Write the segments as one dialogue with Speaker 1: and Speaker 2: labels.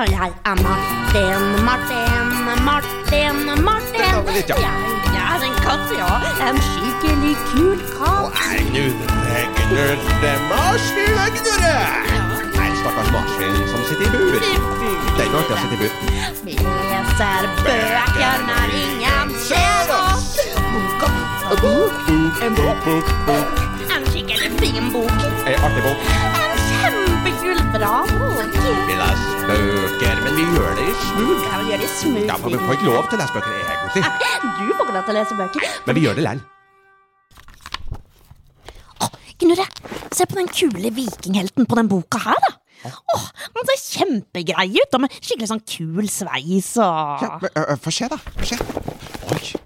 Speaker 1: Og jeg er Martin, Martin, Martin, Martin.
Speaker 2: Stopp litt, ja.
Speaker 1: Jeg er en katt, ja. En skikkelig kul katt.
Speaker 2: Nei, Knut, Knut, det er marsvin, det er Knurre! Nei, stakkars marsvin som sitter i bur. Det er ikke alltid å sitte i bur.
Speaker 1: Vi leser bøker når ingen ser oss. Bok og bok og bok. En bok,
Speaker 2: Bok, bok,
Speaker 1: en skikkelig fin bok.
Speaker 2: ei artig bok.
Speaker 1: En kjempekul, bra bok.
Speaker 2: Vi leser bøker, men vi gjør det i smug.
Speaker 1: Kan vi gjøre det smoothie?
Speaker 2: Ja, for vi får ikke lov til å lese bøker
Speaker 1: Ah.
Speaker 2: egentlig.
Speaker 1: Du får ikke lov til å lese bøker.
Speaker 2: Men vi gjør det likevel.
Speaker 1: Knurre, se på den kule vikinghelten på den boka her, da. Åh, Han ser kjempegrei ut, og med skikkelig sånn kul sveis og
Speaker 2: Ja, men, ø, ø, Få se, da. Få se. Oi.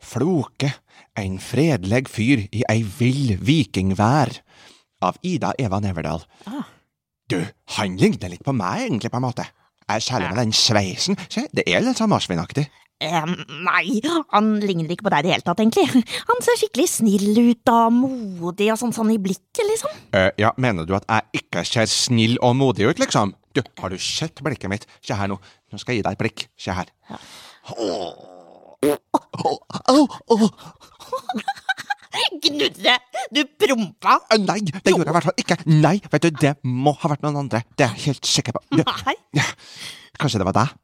Speaker 2: Floke. En fredleg fyr i ei vill vikingvær. Av Ida Eva Neverdal.
Speaker 1: Ah.
Speaker 2: Du, han ligner litt på meg, egentlig, på en måte. Jeg Særlig med den sveisen. Se, det er litt sånn marsvinaktig.
Speaker 1: Em, eh, Nei, han ligner ikke på deg i det hele tatt, egentlig. Han ser skikkelig snill ut og modig og sånn, sånn i blikket, liksom.
Speaker 2: Eh, ja, mener du at jeg ikke ser snill og modig ut, liksom? Du, har du sett blikket mitt? Se her nå. Nå skal jeg gi deg et blikk. Se her. Åh, åh, åh, åh.
Speaker 1: Gnurre, du prompa!
Speaker 2: Eh, Nei, det gjorde jeg i hvert fall ikke. Nei, vet du, det må ha vært noen andre. Det er jeg helt sikker på. Du,
Speaker 1: Nei,
Speaker 2: ja, kanskje det var deg?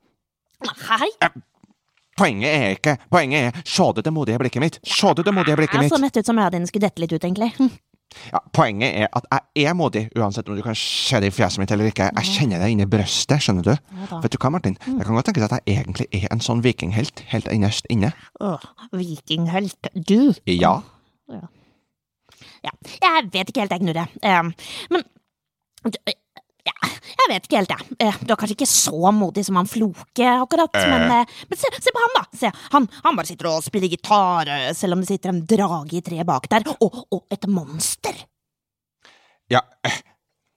Speaker 1: nei.
Speaker 2: Poenget er ikke Poenget er Så du det modige blikket mitt? Så du det modige blikket
Speaker 1: Jeg så
Speaker 2: mitt?
Speaker 1: mett ut som øya dine skulle dette litt ut, egentlig. Hm.
Speaker 2: Ja, poenget er at jeg er modig, uansett om du kan se det i fjeset mitt eller ikke. Jeg kjenner det inni brøstet, skjønner du?
Speaker 1: da. Mm.
Speaker 2: Vet du hva, Martin? Det kan godt tenkes at jeg egentlig er en sånn vikinghelt helt innerst inne.
Speaker 1: Åh, vikinghelt. Du.
Speaker 2: Ja.
Speaker 1: Ja, jeg vet ikke helt, jeg, Knurre. Em, men du, eh, ja, jeg vet ikke helt, jeg. Eh, Du er kanskje ikke så modig som han Floke, akkurat.
Speaker 2: Eh.
Speaker 1: Men, eh, men se, se på han, da! Se, han, han bare sitter og spiller gitar, eh, selv om det sitter en drage i treet bak der. Og, og et monster!
Speaker 2: Ja, eh,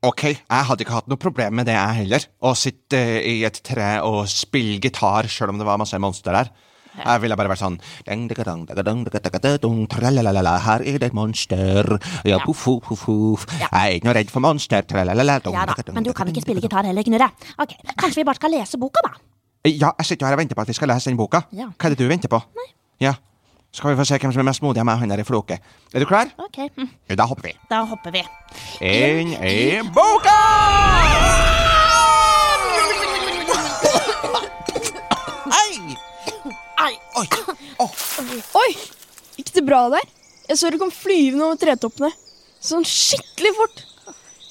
Speaker 2: ok, jeg hadde ikke hatt noe problem med det, jeg heller. Å sitte eh, i et tre og spille gitar sjøl om det var masse monster der. Jeg ville bare vært sånn ding, digga, dong, digga, dong, digga, digga, digga, dong, tralalala, Her er det et monster. Ja, puff, puff, puff, puff. Jeg er ikke noe redd for monster. Tralalala, dong,
Speaker 1: Ja da,
Speaker 2: digga, dong,
Speaker 1: men du
Speaker 2: digga,
Speaker 1: kan
Speaker 2: dong,
Speaker 1: ikke spille
Speaker 2: digga,
Speaker 1: gitar heller, Knurre. Ok, Kanskje vi bare skal lese boka, da?
Speaker 2: dong. Ja, jeg sitter jo her og venter på at vi skal lese den boka.
Speaker 1: Ja.
Speaker 2: Hva er det du venter på? Nei. Ja, Så skal vi få se hvem som er mest modig av meg og han der i floket. Er du klar?
Speaker 1: Ok, hm,
Speaker 2: Ja, Da hopper vi.
Speaker 1: Da hopper vi.
Speaker 2: Inn i boka! Hei!
Speaker 1: Ai,
Speaker 2: Oi! Åh,
Speaker 3: Oi! Gikk det bra der? Jeg så det kom flyvende over tretoppene. Sånn skikkelig fort.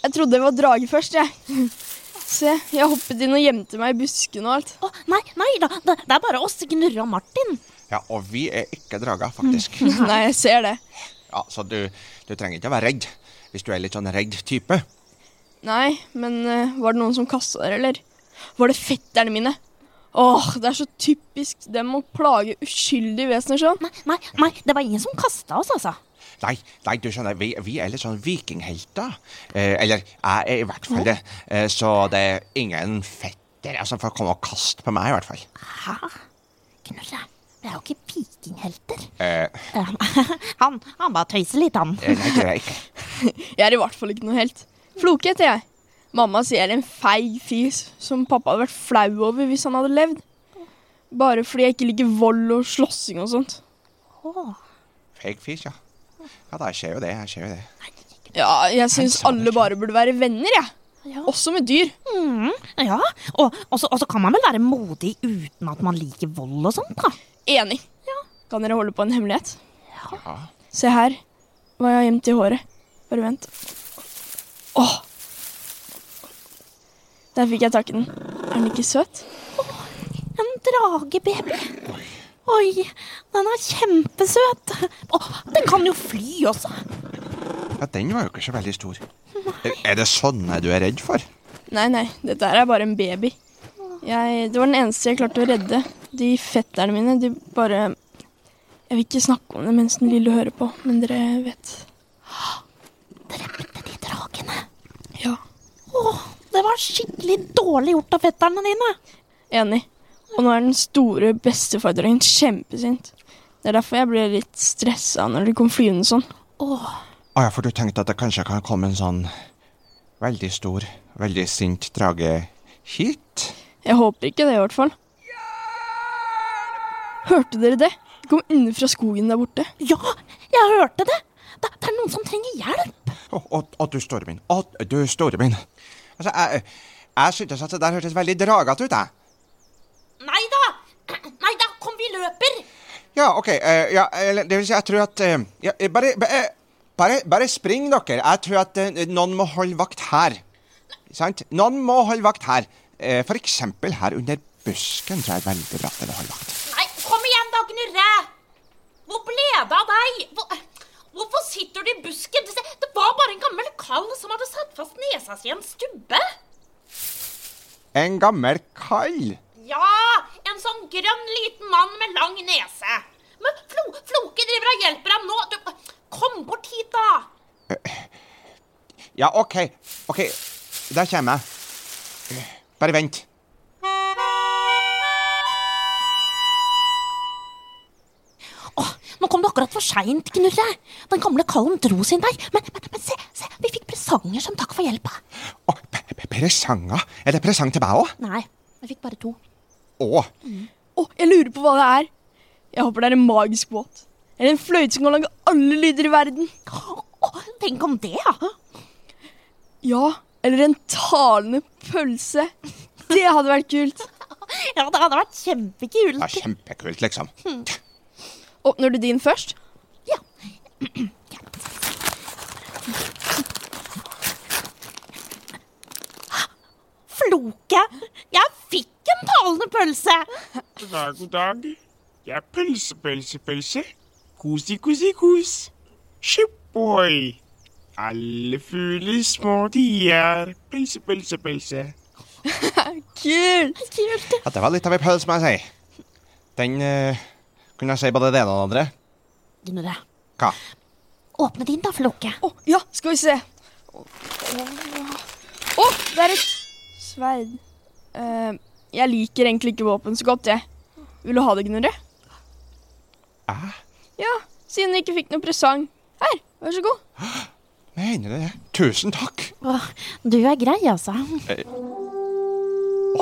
Speaker 3: Jeg trodde det var drage først, jeg. Se, jeg hoppet inn og gjemte meg i buskene og alt.
Speaker 1: å, nei, nei da, det, det er bare oss, Knurre og Martin.
Speaker 2: Ja, og vi er ikke drager, faktisk.
Speaker 3: Nei, jeg ser det.
Speaker 2: Ja, Så du, du trenger ikke å være redd hvis du er litt sånn redd type.
Speaker 3: Nei, men eh, var det noen som kasta der, eller? Var det fetterne mine? Åh, det er så typisk dem å plage uskyldige vesener sånn.
Speaker 1: Nei, nei, nei, det var ingen som kasta oss, altså.
Speaker 2: Nei, nei, du skjønner, vi, vi er litt sånn vikinghelter. Eh, eller jeg er i hvert fall det. Eh, så det er ingen fettere som får komme og kaste på meg, i hvert fall.
Speaker 1: Hæ? Knurre, vi er jo ikke vikinghelter.
Speaker 2: Eh,
Speaker 1: Um, han, han bare tøyser litt, han.
Speaker 2: nei, det er jeg ikke.
Speaker 3: Jeg er i hvert fall ikke noe helt. Floke heter jeg. Mamma sier jeg er en feig fis som pappa hadde vært flau over hvis han hadde levd. Bare fordi jeg ikke liker vold og slåssing og sånt.
Speaker 1: Åh,
Speaker 2: Feig fis, ja. Ja da, jeg ser jo det. jeg ser jo det.
Speaker 3: Ja, jeg syns
Speaker 2: sa det
Speaker 3: alle
Speaker 2: ikke.
Speaker 3: bare burde være venner, jeg.
Speaker 1: Ja.
Speaker 3: Også med dyr.
Speaker 1: mm, ja, og, og, så, og så kan man vel være modig uten at man liker vold og sånt, da.
Speaker 3: Enig. Kan dere holde på en hemmelighet?
Speaker 2: Ja.
Speaker 3: Se her hva jeg har gjemt i håret. Bare vent. Åh! Der fikk jeg tak i den. Er den ikke søt?
Speaker 1: En dragebaby. Oi, den er kjempesøt. Åh, den kan jo fly også.
Speaker 2: Ja, den var jo ikke så veldig stor. Er, er det sånne du er redd for?
Speaker 3: Nei, nei. Dette her er bare en baby. Jeg, det var den eneste jeg klarte å redde. De fetterne mine, de bare Jeg vil ikke snakke om det mens den lille hører på, men dere vet.
Speaker 1: Drepte de dragene.
Speaker 3: Ja.
Speaker 1: Åh, det var skikkelig dårlig gjort av fetterne dine.
Speaker 3: Enig. Og nå er den store bestefaderen kjempesint. Det er derfor jeg ble litt stressa når de kom flyvende sånn.
Speaker 1: Åh,
Speaker 2: Å ja, for du tenkte at det kanskje kan komme en sånn veldig stor, veldig sint drage hit?
Speaker 3: Jeg håper ikke det, i hvert fall. Hørte dere det? Det kom innenfra skogen der borte.
Speaker 1: Ja, jeg hørte det. Det, det er noen som trenger hjelp.
Speaker 2: Å, å, å, du store min. Å, du store min. Altså, jeg, jeg syntes at det der hørtes veldig dragete ut, jeg.
Speaker 1: Nei da! Nei da, kom vi løper!
Speaker 2: Ja, OK. eh, ja, eller, det vil si, jeg tror at eh, ja, eh, bare, ba- eh, bare, bare spring, dere. Jeg tror at eh, noen må holde vakt her. Sant? Noen må holde vakt her. Eh, for eksempel her under busken tror jeg er veldig bra til å holde vakt.
Speaker 1: Nei, kom igjen da, Gnurre! Hvor ble det av deg? Hvor, hvorfor sitter du i busken? Du ser, Det var bare en gammel kall som hadde satt fast nesa si i en stubbe.
Speaker 2: En gammel kall.
Speaker 1: Ja, en sånn grønn liten mann med lang nese. Men Flo, Floke driver og hjelper ham nå. Du, kom bort hit, da.
Speaker 2: Ja, OK. OK, der kommer jeg. Bare vent.
Speaker 1: Åh, nå kom du akkurat for seint, Knurre. Den gamle kallen dro sin vei. Men, men, men se, se, vi fikk presanger som takk for hjelpa.
Speaker 2: Å, p- p- presanger? Er det presang til meg òg?
Speaker 1: Nei, vi fikk bare to.
Speaker 2: Å.
Speaker 3: Å, jeg lurer på hva det er. Jeg håper det er en magisk båt. Eller en fløyte som kan lage alle lyder i verden.
Speaker 1: Åh, tenk om det, ja.
Speaker 3: Ja, eller en talende pølse. Det hadde vært kult.
Speaker 1: Ja, det hadde vært
Speaker 2: Det
Speaker 1: kjempekult.
Speaker 2: er kjempekult, liksom.
Speaker 3: Åpner du din først?
Speaker 1: Ja. Floke, jeg fikk en talende pølse.
Speaker 4: God dag, god dag. Jeg er pølse, pølse, pølse. Kosi, kosi, kos. Skippohoi. Alle fugler små de er. Pølse, pølse, pølse.
Speaker 3: Kult!
Speaker 1: Kult.
Speaker 2: Ja, det var litt av en pølse, må jeg si. Den eh, kunne jeg si både det ene og det andre.
Speaker 1: Gnurre,
Speaker 2: Hva?
Speaker 1: åpne din da, Floke.
Speaker 3: Å, ja, skal vi se. Å, det er et sverd. Eh, jeg liker egentlig ikke våpen så godt, jeg. Vil du ha det, Gnurre?
Speaker 2: Æ?
Speaker 3: Ja, siden vi ikke fikk noen presang. Her, vær så god.
Speaker 2: Mener du det? Tusen takk.
Speaker 1: Åh, du er grei, altså.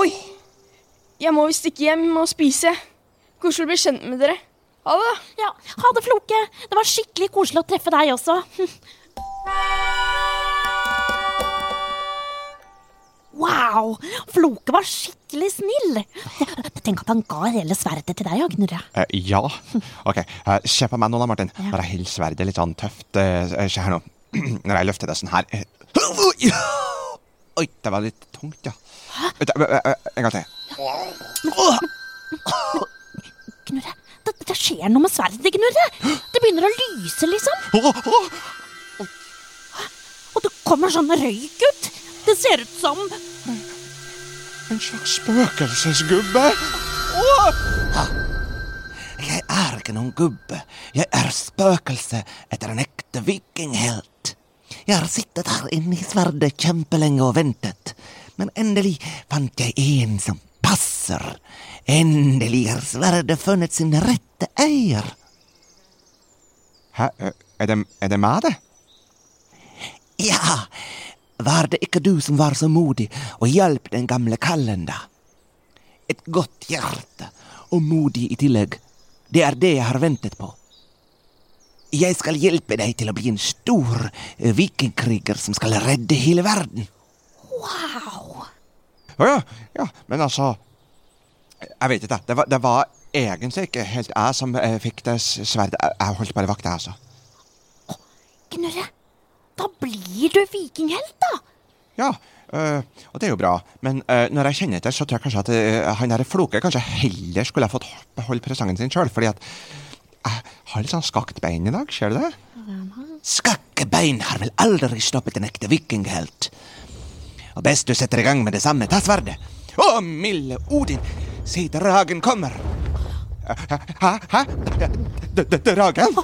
Speaker 3: Oi! Jeg må visst ikke hjem og spise. Koselig å bli kjent med dere. Ha det, da.
Speaker 1: Ja, ha det, Floke. Det var skikkelig koselig å treffe deg også. Wow, Floke var skikkelig snill. Tenk at han ga hele sverdet til deg, Agnurre.
Speaker 2: Eh, ja. OK, eh, se på meg nå da, Martin. Bare hill sverdet litt sånn tøft. eh, eh, se her nå. Når jeg løfter det sånn her eh. Oi! Oi, det var litt tungt, ja. Vent, eh, eh, eh, En gang til.
Speaker 1: Gnurre, det, det skjer noe med sverdet, Gnurre. Det begynner å lyse, liksom.
Speaker 2: Åh, åh!
Speaker 1: Og det kommer sånn røyk ut. Det ser ut som
Speaker 2: En slags spøkelsesgubbe. Jeg er ikke noen gubbe. Jeg er spøkelse etter en ekte vikinghelt. Jeg har sittet her inne i sverdet kjempelenge og ventet, men endelig fant jeg en som passer. Endelig har sverdet funnet sin rette eier. Hæ, eh, er det, er det meg, det? Ja, var det ikke du som var så modig og hjalp den gamle kallen, da? Et godt hjerte, og modig i tillegg. Det er det jeg har ventet på. Jeg skal hjelpe deg til å bli en stor eh, vikingkriger som skal redde hele verden.
Speaker 1: Wow.
Speaker 2: Å ja, ja, men altså Jeg vet ikke. Det var, det var egentlig ikke helt jeg som eh, fikk det s- sverdet. Jeg, jeg holdt bare vakt, jeg, altså.
Speaker 1: Gnurre, da blir du vikinghelt, da.
Speaker 2: Ja, øh, og det er jo bra. Men øh, når jeg kjenner etter, så tror jeg kanskje at øh, han der Floke kanskje heller skulle ha fått beholde presangen sin sjøl, fordi at jeg har litt sånn skakt bein i dag, ser du det? Skakke bein har vel aldri stoppet en ekte vikinghelt. Og best du setter i gang med det samme, ta sverdet. Å, milde Odin, se dragen kommer. Hæ? Hæ? D- d- Dragen?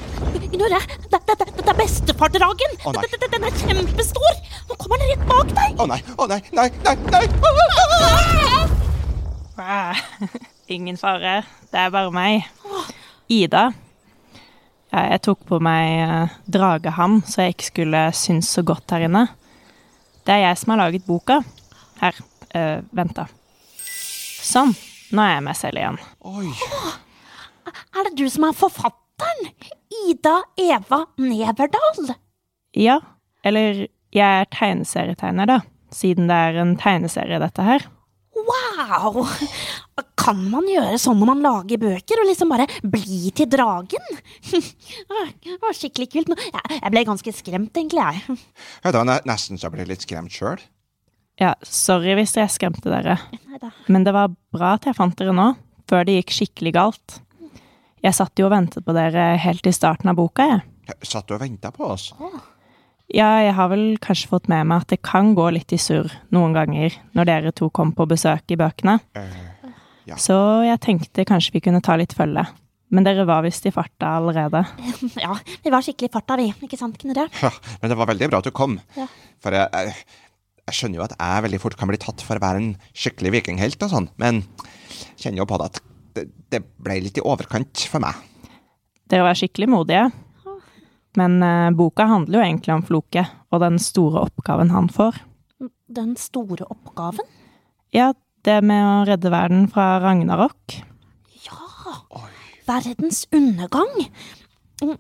Speaker 1: Gnurre, det, det, det, det er bestefardragen.
Speaker 2: Å, nei.
Speaker 1: Den- den- den er kjempestor. Nå kommer den rett bak deg.
Speaker 2: Å nei, å nei, nei, nei, nei!
Speaker 5: Ah, Ingen fare. Det er bare meg. Ida. Ja, jeg tok på meg eh, drageham, så jeg ikke skulle synes så godt her inne. Det er jeg som har laget boka. Her. eh, vent, da. Sånn. Nå er jeg meg selv igjen.
Speaker 2: Oi.
Speaker 1: Er det du som er forfatteren? Ida Eva Neverdal?
Speaker 5: Ja. Eller jeg er tegneserietegner, da. Siden det er en tegneserie, dette her.
Speaker 1: Wow! Kan man gjøre sånn når man lager bøker, og liksom bare bli til dragen? Ah, Det var skikkelig kult. men Jeg jeg ble ganske skremt, egentlig, jeg.
Speaker 2: Ja, det var ne- nesten så jeg ble litt skremt sjøl.
Speaker 5: Ja, sorry hvis jeg skremte dere.
Speaker 1: Neida.
Speaker 5: Men det var bra at jeg fant dere nå, før det gikk skikkelig galt. Jeg satt jo og ventet på dere helt i starten av boka, jeg.
Speaker 2: Satt du og venta på oss?
Speaker 5: Ja, jeg har vel kanskje fått med meg at det kan gå litt i surr noen ganger når dere to kom på besøk i bøkene.
Speaker 2: ja.
Speaker 5: Så jeg tenkte kanskje vi kunne ta litt følge. Men dere var visst i farta allerede.
Speaker 1: Ja, vi var skikkelig i farta, vi. Ikke sant, Knurre?
Speaker 2: Ja, men det var veldig bra at du kom.
Speaker 1: Ja.
Speaker 2: For jeg, jeg, jeg skjønner jo at jeg veldig fort kan bli tatt for å være en skikkelig vikinghelt og sånn, men jeg kjenner jo på det at det, det ble litt i overkant for meg.
Speaker 5: Dere var skikkelig modige. Men eh, boka handler jo egentlig om Floke og den store oppgaven han får.
Speaker 1: Den store oppgaven?
Speaker 5: Ja, det med å redde verden fra Ragnarok.
Speaker 1: Ja! Verdens undergang? Mm,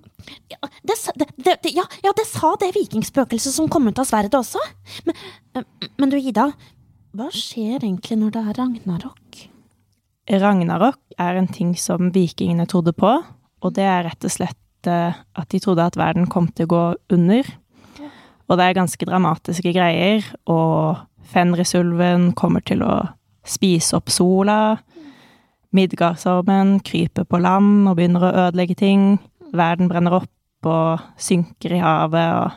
Speaker 1: Ja, det, sa- det, det, det- ja, ja, det sa det vikingspøkelset som kom ut av sverdet også. Men, eh, men du, Ida, hva skjer egentlig når det er ragnarok?
Speaker 5: Ragnarok er en ting som vikingene trodde på, og det er rett og slett eh, at de trodde at verden kom til å gå under. Og det er ganske dramatiske greier, og Fenrisulven kommer til å spise opp sola. Midgardsormen kryper på land og begynner å ødelegge ting. Verden brenner opp og synker i havet og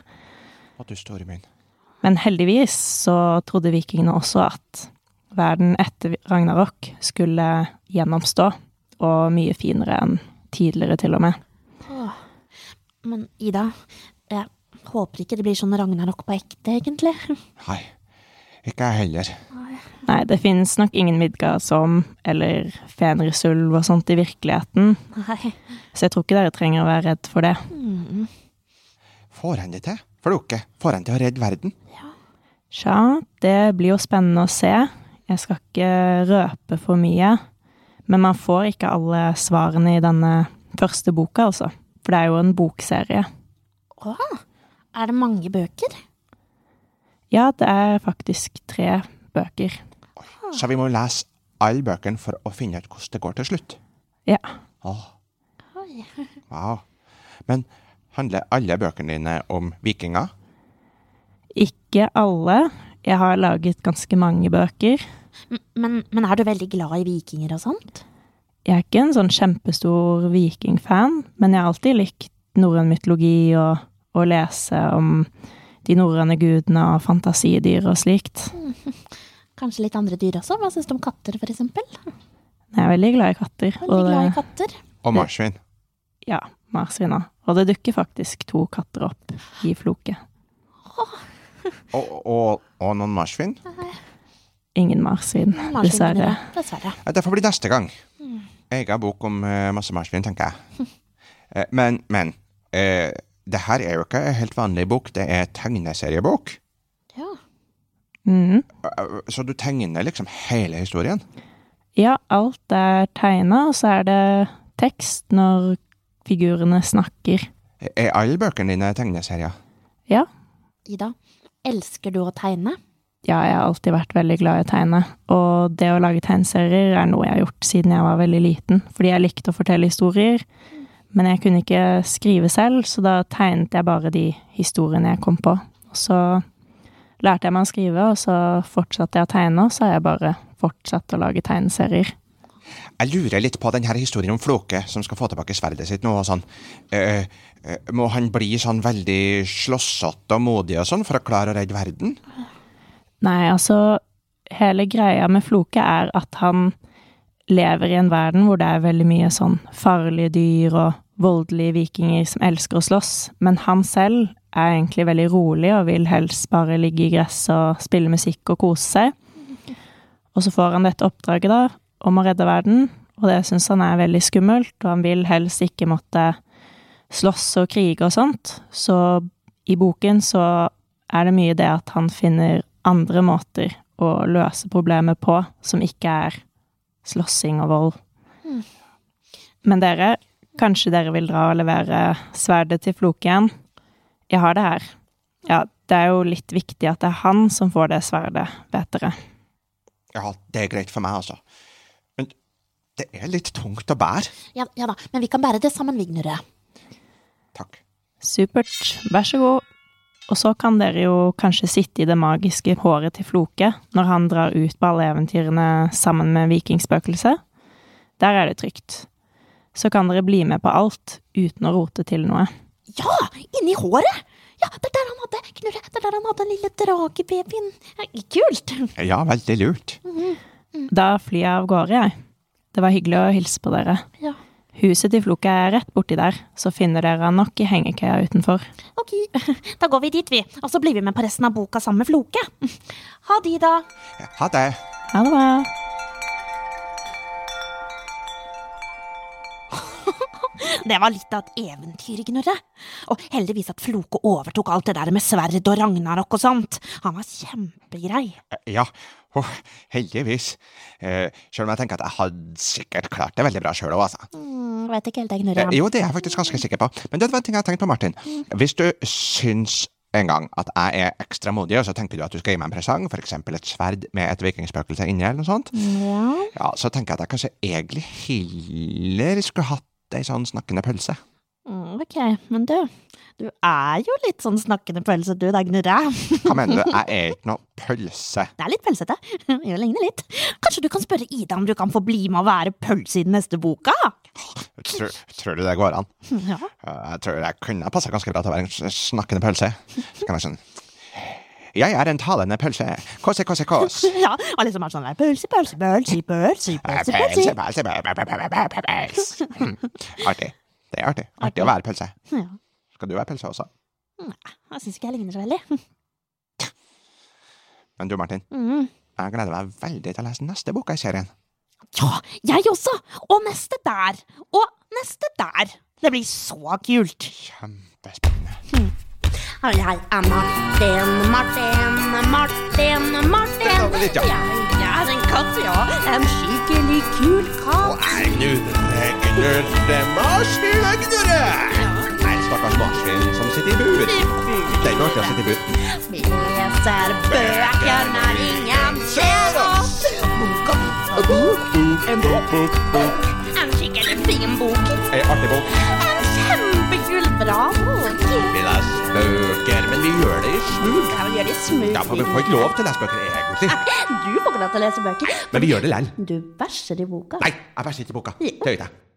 Speaker 2: Å, du store min.
Speaker 5: men heldigvis så trodde vikingene også at verden etter Ragnarok skulle gjennomstå, og mye finere enn tidligere til og med.
Speaker 1: Men Ida, jeg håper ikke det blir sånn ragnarok på ekte, egentlig.
Speaker 2: Nei, ikke jeg heller.
Speaker 5: Nei, det finnes nok ingen Midgard som, eller Fenrisulv og sånt i virkeligheten,
Speaker 1: Nei.
Speaker 5: så jeg tror ikke dere trenger å være redd for det.
Speaker 2: Får han det til? Floke, får han til å redde verden?
Speaker 5: Tja, det blir jo spennende å se. Jeg skal ikke røpe for mye, men man får ikke alle svarene i denne første boka, altså. For det er jo en bokserie.
Speaker 1: Å, er det mange bøker?
Speaker 5: Ja, det er faktisk tre bøker.
Speaker 1: Ah.
Speaker 2: Så vi må lese alle bøkene for å finne ut hvordan det går til slutt.
Speaker 5: Ja.
Speaker 2: Åh,
Speaker 1: Oi.
Speaker 2: wow. Men handler alle bøkene dine om vikinger?
Speaker 5: Ikke alle. Jeg har laget ganske mange bøker.
Speaker 1: Men, men er du veldig glad i vikinger og sånt?
Speaker 5: Jeg er ikke en sånn kjempestor vikingfan, men jeg har alltid likt norrøn mytologi og å lese om de norrøne gudene og fantasidyr og slikt.
Speaker 1: Kanskje litt andre dyr også? Hva syns du om katter, for eksempel?
Speaker 5: Jeg er veldig glad i katter.
Speaker 1: Veldig
Speaker 5: det-
Speaker 1: glad i katter.
Speaker 2: Og marsvin?
Speaker 5: Ja, marsvina. Og det dukker faktisk to katter opp i floket.
Speaker 2: Og, og, og noen marsvin?
Speaker 5: Ingen marsvin,
Speaker 1: Marsvin,
Speaker 5: dessverre.
Speaker 1: Knurre. Dessverre.
Speaker 2: Ja, Det får bli neste gang. Egen bok om eh, masse marsvin, tenker jeg. Eh, men, men. eh, det her er jo ikke en helt vanlig bok, det er tegneseriebok.
Speaker 1: Ja.
Speaker 5: Mhm.
Speaker 2: Eh, Så du tegner liksom hele historien?
Speaker 5: Ja, alt er tegna, og så er det tekst når figurene snakker.
Speaker 2: Er alle bøkene dine tegneserier?
Speaker 5: Ja.
Speaker 1: Ida, elsker du å tegne?
Speaker 5: ja, jeg har alltid vært veldig glad i å tegne. Og det å lage tegneserier er noe jeg har gjort siden jeg var veldig liten. Fordi jeg likte å fortelle historier, men jeg kunne ikke skrive selv, så da tegnet jeg bare de historiene jeg kom på. Og så lærte jeg meg å skrive, og så fortsatte jeg å tegne, og så har jeg bare fortsatt å lage tegneserier.
Speaker 2: Jeg lurer litt på den her historien om Floke som skal få tilbake sverdet sitt nå. og sånn. Eh, eh, må han bli sånn veldig slåssete og modig og sånn for å klare å redde verden?
Speaker 5: Nei, altså Hele greia med Floke er at han lever i en verden hvor det er veldig mye sånn farlige dyr og voldelige vikinger som elsker å slåss, men han selv er egentlig veldig rolig og vil helst bare ligge i gresset og spille musikk og kose seg. Og så får han dette oppdraget da, om å redde verden, og det syns han er veldig skummelt, og han vil helst ikke måtte slåss og krige og sånt. Så i boken så er det mye det at han finner andre måter å løse problemet på, som ikke er slåssing og vold. Men dere, kanskje dere vil dra og levere sverdet til Floke igjen? Jeg har det her. Ja, det er jo litt viktig at det er han som får det sverdet, vet dere.
Speaker 2: Ja, det er greit for meg, altså. Men det er litt tungt å bære.
Speaker 1: Ja, ja da, men vi kan bære det sammen, Vignere.
Speaker 2: Takk.
Speaker 5: Supert, vær så god. Og så kan dere jo kanskje sitte i det magiske håret til Floke når han drar ut på alle eventyrene sammen med vikingspøkelset. Der er det trygt. Så kan dere bli med på alt uten å rote til noe.
Speaker 1: Ja, inni håret! Ja, det er der han hadde Knurre, det er der han hadde den lille dragebabyen. Ja, Kult!
Speaker 2: Ja, veldig lurt.
Speaker 5: Da flyr jeg av gårde, jeg. Det var hyggelig å hilse på dere.
Speaker 1: Ja.
Speaker 5: Huset til Floke er rett borti der, så finner dere han nok i hengekøya utenfor.
Speaker 1: Ok, da går vi dit, vi. Og så blir vi med på resten av boka sammen med Floke. Ha de, da.
Speaker 2: Ha det.
Speaker 5: Ha det bra.
Speaker 1: Det var litt av et eventyr, Gnurre. Og heldigvis at Floke overtok alt det der med sverd og ragnarok og sånt. Han var kjempegrei.
Speaker 2: Eh, Ja, åh, heldigvis. Eh, Sjøl om jeg tenker at jeg hadde sikkert klart det veldig bra sjøl òg, altså.
Speaker 1: Mm, vet ikke helt det,
Speaker 2: Eh,
Speaker 1: Gnurre.
Speaker 2: Jo, det er jeg faktisk ganske sikker på. Men det var en ting jeg har tenkt på, Martin. Hvis du syns en gang at jeg er ekstra modig, og så tenker du at du skal gi meg en presang, f.eks. et sverd med et vikingspøkelse inni, eller noe sånt,
Speaker 1: Ja.
Speaker 2: ja, så tenker jeg at jeg kanskje egentlig heller skulle hatt ei sånn snakkende pølse.
Speaker 1: Mm, Ok, men du, du er jo litt sånn snakkende pølse, du da, Gnurre.
Speaker 2: Hva mener du? Jeg er ikke noe pølse.
Speaker 1: Det er litt pølsete. Jo, ligner litt. Kanskje du kan spørre Ida om du kan få bli med å være pølse i den neste boka?
Speaker 2: Tror, tror du det går an?
Speaker 1: Ja.
Speaker 2: Eh, Jeg tror jeg kunne passa ganske bra til å være en s- snakkende pølse. Så kan jeg sånn Jeg er en talende pølse. Kåse, kåse, kås. Eh,
Speaker 1: ja alle som er sånn der pølse, pølse, pølse, pølse, pølse,
Speaker 2: Pølse,
Speaker 1: pølse.
Speaker 2: pølse, pø- pø- pø- pø- pø- pø- pøls. Mm. Artig. Det er artig. Artig å være pølse.
Speaker 1: Ja,
Speaker 2: Skal du være pølse også?
Speaker 1: jeg syns ikke jeg ligner så veldig.
Speaker 2: Men du, Martin,
Speaker 1: Mm.
Speaker 2: jeg gleder meg veldig til å lese neste boka i serien.
Speaker 1: Ja, jeg også! Og neste der! Og neste der! Det blir så kult!
Speaker 2: Kjempespennende.
Speaker 6: Jeg er Martin, Martin, Martin, Martin.
Speaker 2: Vent da litt, ja.
Speaker 6: Jeg er en katt, ja. En skikkelig kul katt.
Speaker 2: Nei, stakkars marsvin som sitter i bur. Det er ikke artig å sitte i bur.
Speaker 6: Vi leser bøker når ingen ser oss. Bok og bok og bok. En bok, bok, bok. En skikkelig fin bok.
Speaker 2: Ei artig bok.
Speaker 6: En kjempekul, bra bok.
Speaker 2: Vi leser bøker, men vi gjør det i smug.
Speaker 6: Skal Mm. vi gjøre det smoothie?
Speaker 2: Ja, for vi får ikke lov til å lese bøker egentlig,
Speaker 6: Du får ikke lov til å lese bøker.
Speaker 2: men vi gjør det likevel.
Speaker 6: Du bæsjer i boka.
Speaker 2: Nei, jeg bæsjer ikke i boka. Det gjør jeg ikke.